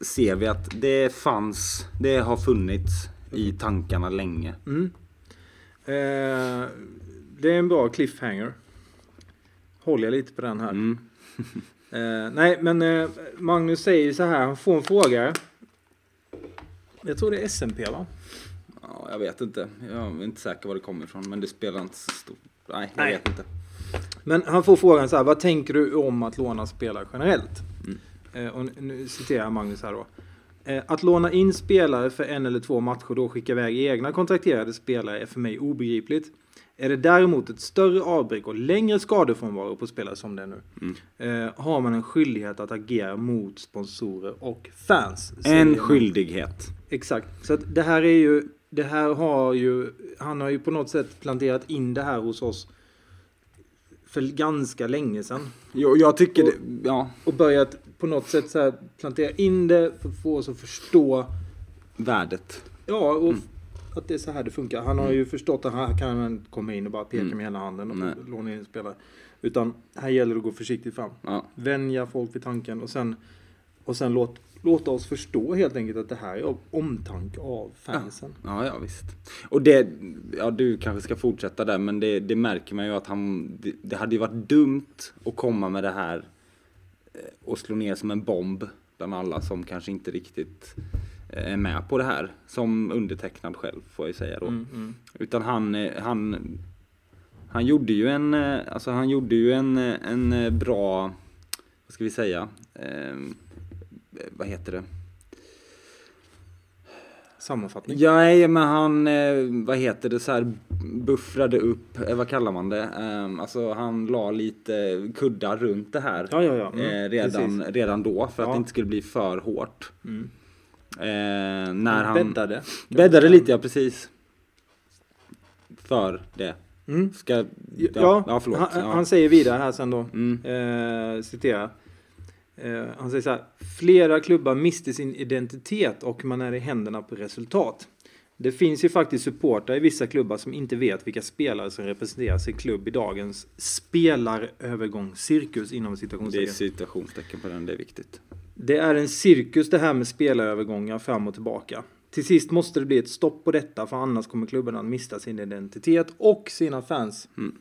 B: ser vi att det fanns, det har funnits i tankarna länge.
A: Mm. Eh, det är en bra cliffhanger. Håller jag lite på den här.
B: Mm.
A: Eh, nej, men eh, Magnus säger ju så här. Han får en fråga. Jag tror det är SMP va?
B: Ja, jag vet inte. Jag är inte säker var det kommer ifrån, men det spelar inte så stor... Nej, jag
A: Nej.
B: vet inte.
A: Men han får frågan så här. Vad tänker du om att låna spelare generellt?
B: Mm.
A: Eh, och nu- nu citerar jag Magnus här då. Eh, Att låna in spelare för en eller två matcher och då skicka iväg egna kontrakterade spelare är för mig obegripligt. Är det däremot ett större avbräck och längre skadefrånvaro på spelare som det är nu
B: Mm.
A: eh, har man en skyldighet att agera mot sponsorer och fans. säger
B: En
A: Magnus.
B: skyldighet.
A: Exakt. Så att det här är ju, det här har ju, han har ju på något sätt planterat in det här hos oss för ganska länge sedan.
B: Jag, jag tycker
A: Och-
B: det... Ja,
A: Och börjat på något sätt så här plantera in det för att få oss att förstå,
B: värdet.
A: ja, och att det är så här det funkar. Han har ju förstått att här kan man inte komma in och bara peka med hela handen och
B: Nej.
A: låna in spelare. Utan här gäller det att gå försiktigt fram.
B: Ja.
A: Vänja folk vid tanken och sen, och sen låt, låta oss förstå helt enkelt att det här är av omtanke av fansen.
B: Ja, ja visst. Och det, ja du kanske ska fortsätta där, men det, det märker man ju att han, det, det hade ju varit dumt att komma med det här eh, och slå ner som en bomb bland alla som kanske inte riktigt eh, är med på det här. Som undertecknad själv får jag ju säga då.
A: Mm, mm.
B: Utan han, eh, han, han gjorde ju en, eh, alltså han gjorde ju en, eh, en eh, bra, vad ska vi säga, Ehm, eh, vad heter det?
A: Sammanfattning.
B: Ja, nej, men han, eh, vad heter det, så här buffrade upp, eh, vad kallar man det? Ehm, Alltså han la lite kuddar runt det här
A: Ja, ja, ja. Mm.
B: eh, redan,
A: precis.
B: redan då för att
A: Ja.
B: det inte skulle bli för hårt.
A: Mm.
B: Eh, när han
A: Bäddade.
B: bäddade lite, ja precis. För det.
A: Mm.
B: Ska, ja,
A: Ja,
B: ja, förlåt.
A: Han,
B: ja.
A: han säger vidare här sen då,
B: Mm.
A: eh, citera. Eh, han säger så här. Flera klubbar mister sin identitet och man är i händerna på resultat. Det finns ju faktiskt supportrar i vissa klubbar som inte vet vilka spelare som representerar sin klubb i dagens spelarövergångscirkus inom
B: Det är
A: citationstecken.
B: citationstecken på den, det är viktigt.
A: Det är en cirkus det här med spelarövergångar fram och tillbaka. Till sist måste det bli ett stopp på detta för annars kommer klubben att mista sin identitet och sina fans.
B: Mm.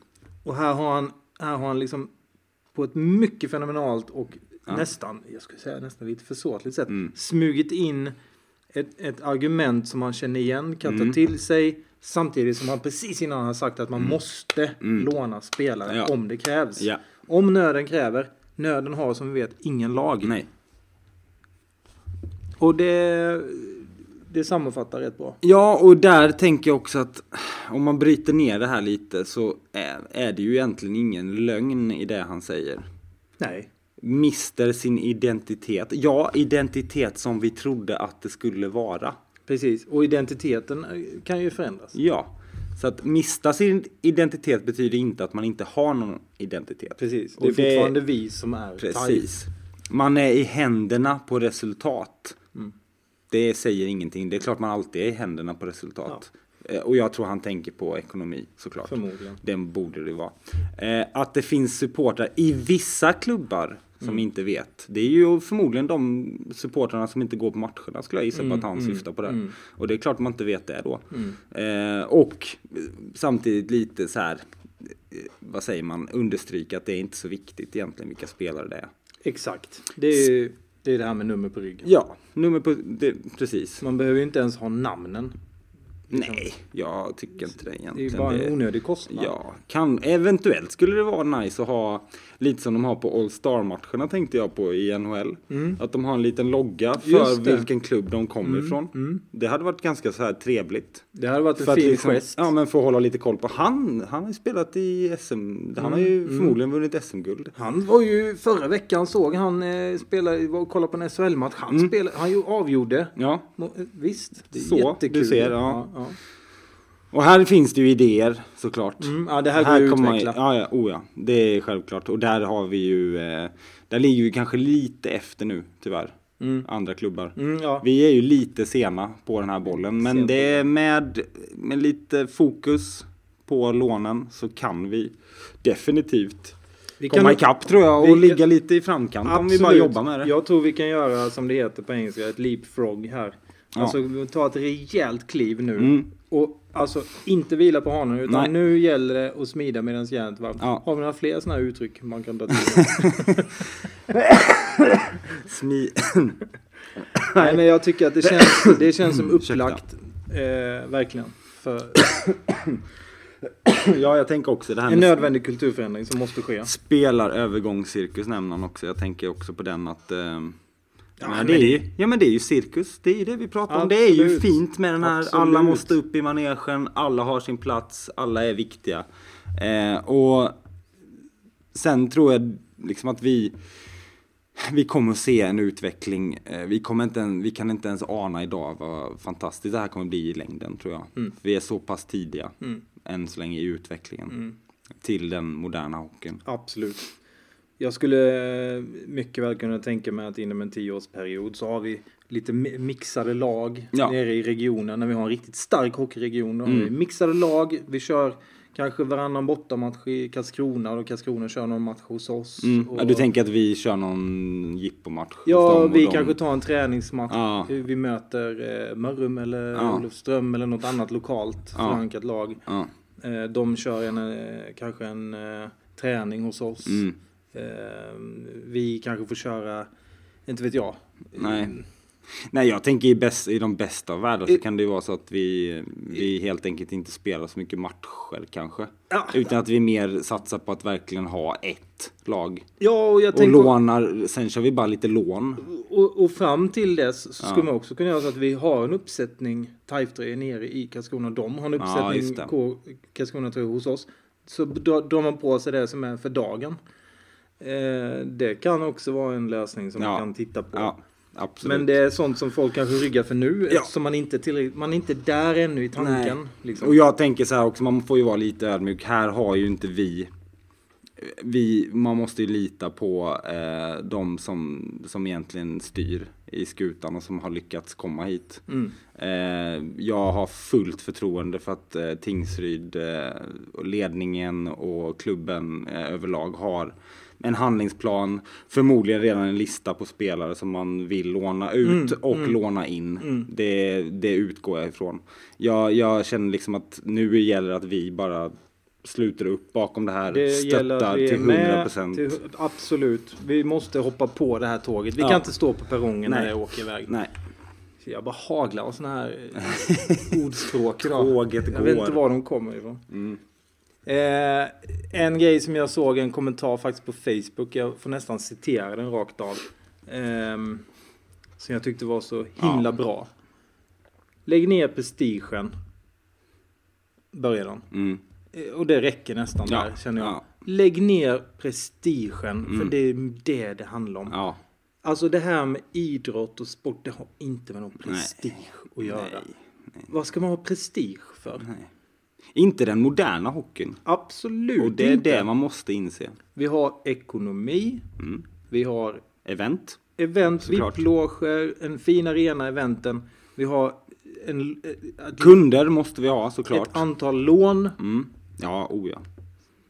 A: Och här har han, här har han liksom på ett mycket fenomenalt och nästan, jag skulle säga nästan lite försåtligt sätt
B: Mm.
A: smugit in ett, ett argument som han känner igen, kan
B: Mm.
A: ta till sig samtidigt som han precis innan har sagt att man måste låna spelare
B: Mm. Ja.
A: om det krävs.
B: Ja.
A: Om nöden kräver. Nöden har som vi vet ingen lag.
B: Nej.
A: Och det, det sammanfattar rätt bra.
B: Ja, och där tänker jag också att om man bryter ner det här lite så är, är det ju egentligen ingen lögn i det han säger.
A: Nej.
B: Mister sin identitet. Ja, identitet som vi trodde att det skulle vara.
A: Precis, och identiteten eh, kan ju förändras.
B: Ja, så att mista sin identitet betyder inte att man inte har någon identitet.
A: Precis, det
B: Och
A: är fortfarande vi som är Thai.
B: Precis. Man är i händerna på resultat. Det säger ingenting. Det är klart man alltid är i händerna på resultat. Eh, Och jag tror han tänker på ekonomi såklart.
A: Förmodligen.
B: Den borde det vara. Eh, Att det finns supportrar i vissa klubbar som
A: Mm.
B: inte vet. Det är ju förmodligen de supportrarna som inte går på matcherna skulle jag gissa
A: Mm,
B: på att han syftar på det. Och det är klart man inte vet det då.
A: Mm.
B: Eh, Och eh, samtidigt lite så här, eh, vad säger man, understryka att det är inte så viktigt egentligen vilka spelare det är.
A: Exakt. Det är ju det, är det här med nummer på ryggen.
B: Ja, nummer på, det, precis.
A: Man behöver ju inte ens ha namnen.
B: Nej, jag tycker inte det egentligen.
A: Det är ju bara en onödig kostnad.
B: Ja, kan, eventuellt skulle det vara nice att ha lite som de har på All Star-matcherna tänkte jag på i NHL. Att de har en liten logga
A: Mm. Just
B: för
A: det. Mm,
B: vilken klubb de kommer ifrån. Det hade varit ganska så här trevligt.
A: Det hade varit en
B: För att
A: fin
B: liksom,
A: gest.
B: ja, men för att hålla lite koll på han. Han har ju spelat i SM. Han har ju
A: Mm,
B: förmodligen vunnit SM-guld.
A: Han var ju förra veckan såg han eh, spela, var och kollade på en SHL-match. Han, spelade, han ju avgjorde.
B: Ja,
A: Mo- eh, Visst, det är
B: Mm. Så,
A: jättekul.
B: du ser, ja.
A: Ja,
B: och här finns det ju idéer såklart.
A: ja. Mm, ja, det här går ju att
B: kommer man ju-
A: utveckla.
B: Ja, ja, oh ja, det är självklart. Och där har vi ju, eh, där ligger vi kanske lite efter nu tyvärr. Andra klubbar.
A: Mm, ja.
B: Vi är ju lite sena på den här bollen, men
A: Sent på
B: det är med, med lite fokus på lånen så kan vi definitivt
A: Vi
B: komma ikapp tror jag och
A: vi-
B: ligga lite i framkant om vi bara jobbar med det.
A: Jag tror vi kan göra, som det heter på engelska, ett leapfrog här.
B: Ja.
A: Alltså vi tar ett rejält kliv nu.
B: Mm.
A: Och alltså inte vila på hanen utan
B: Nej.
A: nu gäller det att smida medan järnet är varmt.
B: Ja.
A: Har vi några fler sådana här uttryck man kan dra till?
B: Smi-
A: Nej men jag tycker att det känns, det känns som
B: Ursäkta.
A: upplagt. Eh, verkligen. För
B: ja, jag tänker också det här
A: en
B: med
A: nödvändig kulturförändring som måste ske.
B: spelar övergångscirkus nämner han också. Jag tänker också på den att eh, ja, men
A: men
B: det är
A: det-
B: ju, ja men det är ju cirkus, det är ju det vi pratar om. Det är ju
A: Absolut.
B: fint med den här, alla
A: Absolut.
B: måste upp i manegen, alla har sin plats, alla är viktiga. Eh, och sen tror jag liksom att vi, vi kommer att se en utveckling. Eh, Vi, kommer inte, en- vi kan inte ens ana idag vad fantastiskt det här kommer bli i längden tror jag.
A: Mm.
B: Vi är så pass tidiga än så länge i utvecklingen
A: Mm.
B: till den moderna hockeyn.
A: Absolut. Jag skulle eh, mycket väl kunna tänka mig att inom en tioårsperiod så har vi lite mi- mixade lag
B: Ja.
A: nere i regionen. När vi har en riktigt stark hockeyregion. Då har vi
B: Mm.
A: mixade lag. Vi kör kanske varannan bortamatch i Karlskrona och Karlskrona kör någon match hos oss.
B: Mm.
A: Och,
B: Ja, du tänker att vi kör någon jippomatch? hos dem
A: Ja,
B: och
A: vi
B: dem.
A: kanske tar en träningsmatch.
B: Ja.
A: Vi möter eh, Mörrum eller
B: Ja.
A: Olofström eller något annat lokalt
B: Ja.
A: förankrat lag.
B: Ja.
A: Eh, de kör en, eh, kanske en eh, träning hos oss.
B: Mm.
A: Eh, vi kanske får köra, inte vet jag.
B: Nej. Nej, jag tänker i, bäst, i de bästa av världar så kan det ju vara så att vi, vi helt enkelt inte spelar så mycket matcher kanske.
A: Ja.
B: Utan att vi mer satsar på att verkligen ha ett lag.
A: Ja, och jag
B: Och
A: tänker...
B: lånar, sen kör vi bara lite lån.
A: Och, och fram till dess så skulle man också kunna göra så att vi har en uppsättning Taiftre nere i Karlskrona. De har en
B: Ja, just
A: uppsättning
B: det.
A: K- Karlskrona tror jag, hos oss. Så dra- drar man på sig det som är för dagen. Eh, det kan också vara en lösning som
B: Ja.
A: man kan titta på.
B: Ja, absolut.
A: Men det är sånt som folk kanske ryggar för nu
B: Ja.
A: eftersom man inte är tillräckligt, man är inte där ännu i tanken.
B: Nej.
A: Liksom.
B: Och jag tänker så här också, man får ju vara lite ödmjuk. Här har ju inte vi vi, man måste ju lita på eh, de som, som egentligen styr i skutan och som har lyckats komma hit.
A: Mm.
B: Eh, jag har fullt förtroende för att eh, Tingsryd, eh, och ledningen och klubben eh, överlag har en handlingsplan, förmodligen redan en lista på spelare som man vill låna ut
A: Mm,
B: och
A: mm.
B: låna in.
A: Mm.
B: Det, det utgår jag ifrån. Jag, jag känner liksom att nu gäller det att vi bara sluter upp bakom det här,
A: Det gäller
B: stöttar
A: att vi är
B: till 100
A: med.
B: procent.
A: Till, absolut. Vi måste hoppa på det här tåget. Vi
B: Ja.
A: kan inte stå på perrongen när
B: Nej.
A: det åker iväg.
B: Nej,
A: Så Jag bara haglar av såna här eh, ordspråk idag.
B: Tåget
A: Jag vet
B: går.
A: inte var de kommer ifrån.
B: Mm.
A: Eh, en grej som jag såg, en kommentar faktiskt på Facebook. Jag får nästan citera den rakt av. ehm, som jag tyckte var så himla
B: Ja.
A: bra. Lägg ner prestigen. Börjar de.
B: Mm.
A: Eh, Och det räcker nästan
B: Ja,
A: där känner jag.
B: ja.
A: Lägg ner prestigen. För
B: Mm.
A: det är det det handlar om.
B: Ja.
A: Alltså det här med idrott och sport, det har inte med någon
B: Nej.
A: prestige att göra.
B: Nej.
A: Vad ska man ha prestige för?
B: Nej. Inte den moderna hockeyn.
A: Absolut
B: Och det är
A: inte.
B: det man måste inse.
A: Vi har ekonomi,
B: Mm.
A: vi har
B: Event.
A: event,
B: Såklart.
A: VIP-loger, en fin arena, eventen. Vi har en, ett,
B: Kunder måste vi ha såklart.
A: ett antal lån.
B: Mm. Ja, o ja.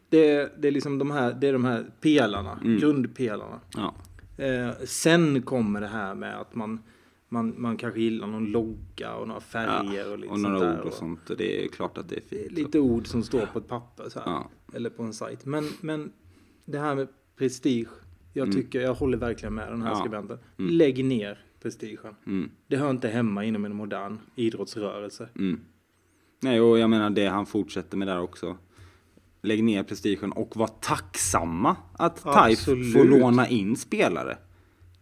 A: Det, det, är liksom de här, det är de här pelarna,
B: Mm.
A: grundpelarna.
B: ja.
A: Eh, sen kommer det här med att man, man, man kanske gillar någon logga och några färger
B: Ja.
A: och lite
B: Och
A: sånt
B: några
A: där.
B: ord och sånt. Och det är klart att det är
A: Det är
B: fint.
A: lite ord som står på ett papper så här.
B: Ja.
A: Eller på en sajt. Men, men det här med prestige. Jag tycker, jag håller verkligen med den här
B: Mm. Ja.
A: skribenten.
B: Mm.
A: Lägg ner prestigen.
B: Mm.
A: Det hör inte hemma inom en modern idrottsrörelse.
B: Mm. Nej, och jag menar det han fortsätter med där också. Lägg ner prestigen och var tacksamma att TAIF
A: Absolut.
B: får låna in spelare.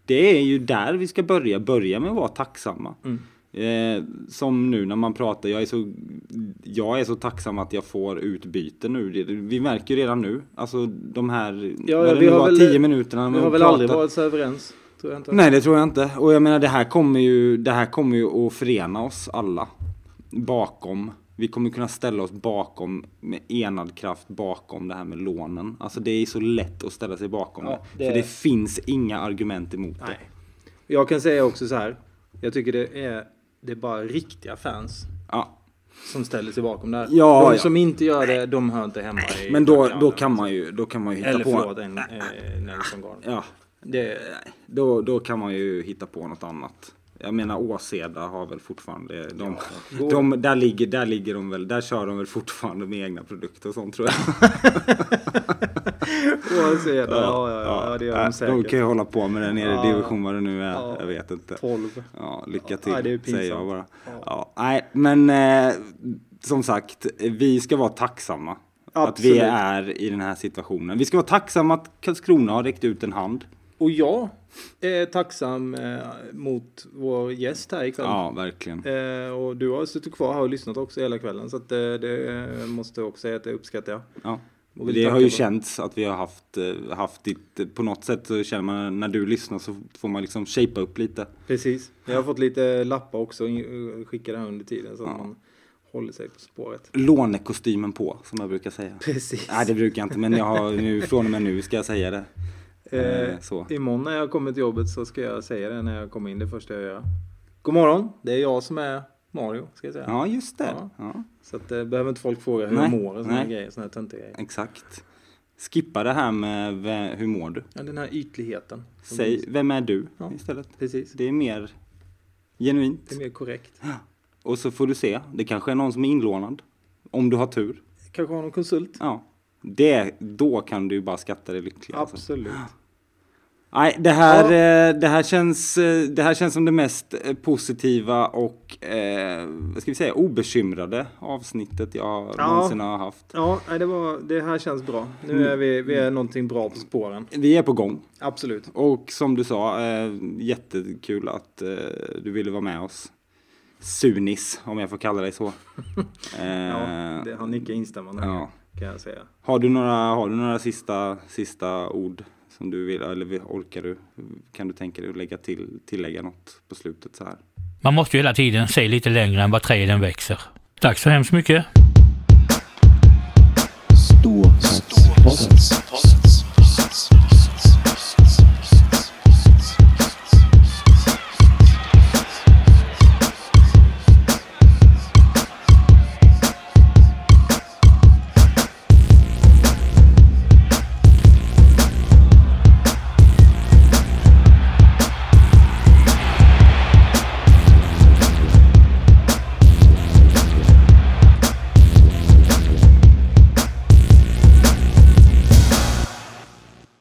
B: Det är ju där vi ska börja. Börja med att vara tacksamma.
A: Mm.
B: Eh, som nu när man pratar, jag är, så, jag är så tacksam att jag får utbyte nu. Det- Vi märker ju redan nu, alltså de här
A: Ja,
B: vad
A: ja,
B: det
A: vi
B: nu
A: har
B: var,
A: väl-
B: tio minuterna.
A: Vi
B: man
A: har väl
B: pratar.
A: aldrig varit så överens. Tror jag inte.
B: Nej, det tror jag inte. Och jag menar, det här kommer ju, det här kommer ju att förena oss alla. Bakom. Vi kommer kunna ställa oss bakom, med enad kraft, bakom det här med lånen. Alltså det är så lätt att ställa sig bakom
A: Ja,
B: det.
A: det-
B: För det finns inga argument emot det.
A: Nej. Jag kan säga också så här. Jag tycker det är, det är bara riktiga fans
B: Ja.
A: som ställer sig bakom det här.
B: Ja,
A: de
B: ja.
A: som inte gör det, de hör inte hemma i...
B: Men då, då, kan man ju, då kan man ju hitta
A: Eller
B: på...
A: förlåt, en eh, Nelson Garner.
B: Ja, det, då, då kan man ju hitta på något annat. Jag menar Åseda har väl fortfarande... De,
A: Gå-
B: de, där, ligger, där ligger de väl, där kör de väl fortfarande med egna produkter och sånt tror jag.
A: Oavsett, ja, ja, ja, ja, det gör
B: äh,
A: de säkert.
B: kan ju hålla på med den nere i
A: Ja.
B: division vad det nu är.
A: Ja.
B: Jag vet inte.
A: 12.
B: Ja, lycka
A: Ja, det är
B: till,
A: pinsamt.
B: säger jag bara.
A: Ja.
B: Ja, nej, men eh, som sagt, vi ska vara tacksamma. Att vi
A: Absolut.
B: är i den här situationen. Vi ska vara tacksamma att Karlskrona har räckt ut en hand.
A: Och jag är tacksam eh, mot vår gäst här ikväll.
B: Ja, verkligen.
A: Eh, och du har suttit kvar här och lyssnat också hela kvällen. Så att, eh, det eh, måste jag också säga att det uppskattar jag.
B: Ja.
A: Och vill
B: Det har
A: tacka
B: ju
A: för-
B: känts att vi har haft, eh, haft ditt, på något sätt så känner man när du lyssnar så får man liksom shapea upp lite.
A: Precis. Jag har fått lite lappar också in- skickade här under tiden. Så att
B: Ja.
A: man håller sig på spåret.
B: Lånekostymen på, som jag brukar säga.
A: Precis.
B: Nej, det brukar jag inte, men jag har nu, från och med nu ska jag säga det.
A: Eh,
B: Eh, så.
A: Imorgon när jag kommer till jobbet så ska jag säga det när jag kommer in. Det första jag gör. God morgon. Det är jag som är Mario. Ska jag säga.
B: Ja, just det.
A: Ja.
B: Ja,
A: Så att, eh, behöver inte folk fråga hur
B: Nej,
A: jag mår och såna här
B: nej.
A: grejer. Såna här töntiga grejer.
B: exakt. Skippa det här med ve- hur mår du?
A: Ja, den här ytligheten. som
B: Säg, vem är du
A: Ja.
B: istället?
A: Precis.
B: Det är mer genuint.
A: Det är mer korrekt.
B: Och så får du se, det kanske är någon som är inlånad. Om du har tur.
A: Kanske ha någon konsult?
B: Ja. Det, då kan du ju bara skatta dig lycklig. alltså.
A: Absolut.
B: Nej, det här, eh, det, här känns, eh, det här känns som det mest eh, positiva och, eh, vad ska vi säga, obekymrade avsnittet jag
A: Ja.
B: någonsin har haft.
A: Ja, nej, det, var, det här känns bra.
B: Mm.
A: Nu är vi, vi är någonting bra på spåren.
B: Vi är på gång.
A: Absolut.
B: Och som du sa, eh, jättekul att eh, du ville vara med oss. Sunis, om jag får kalla dig så. Eh,
A: Ja, det, han nickar instämmande här,
B: ja.
A: kan jag säga.
B: Har du några, har du några sista, sista ord som du vill, eller vi- orkar du? Kan du tänka dig att lägga till, tillägga något på slutet så här?
C: Man måste ju hela tiden se lite längre än vad träden växer. Tack så hemskt mycket.
D: Sport. Ståsatsposten.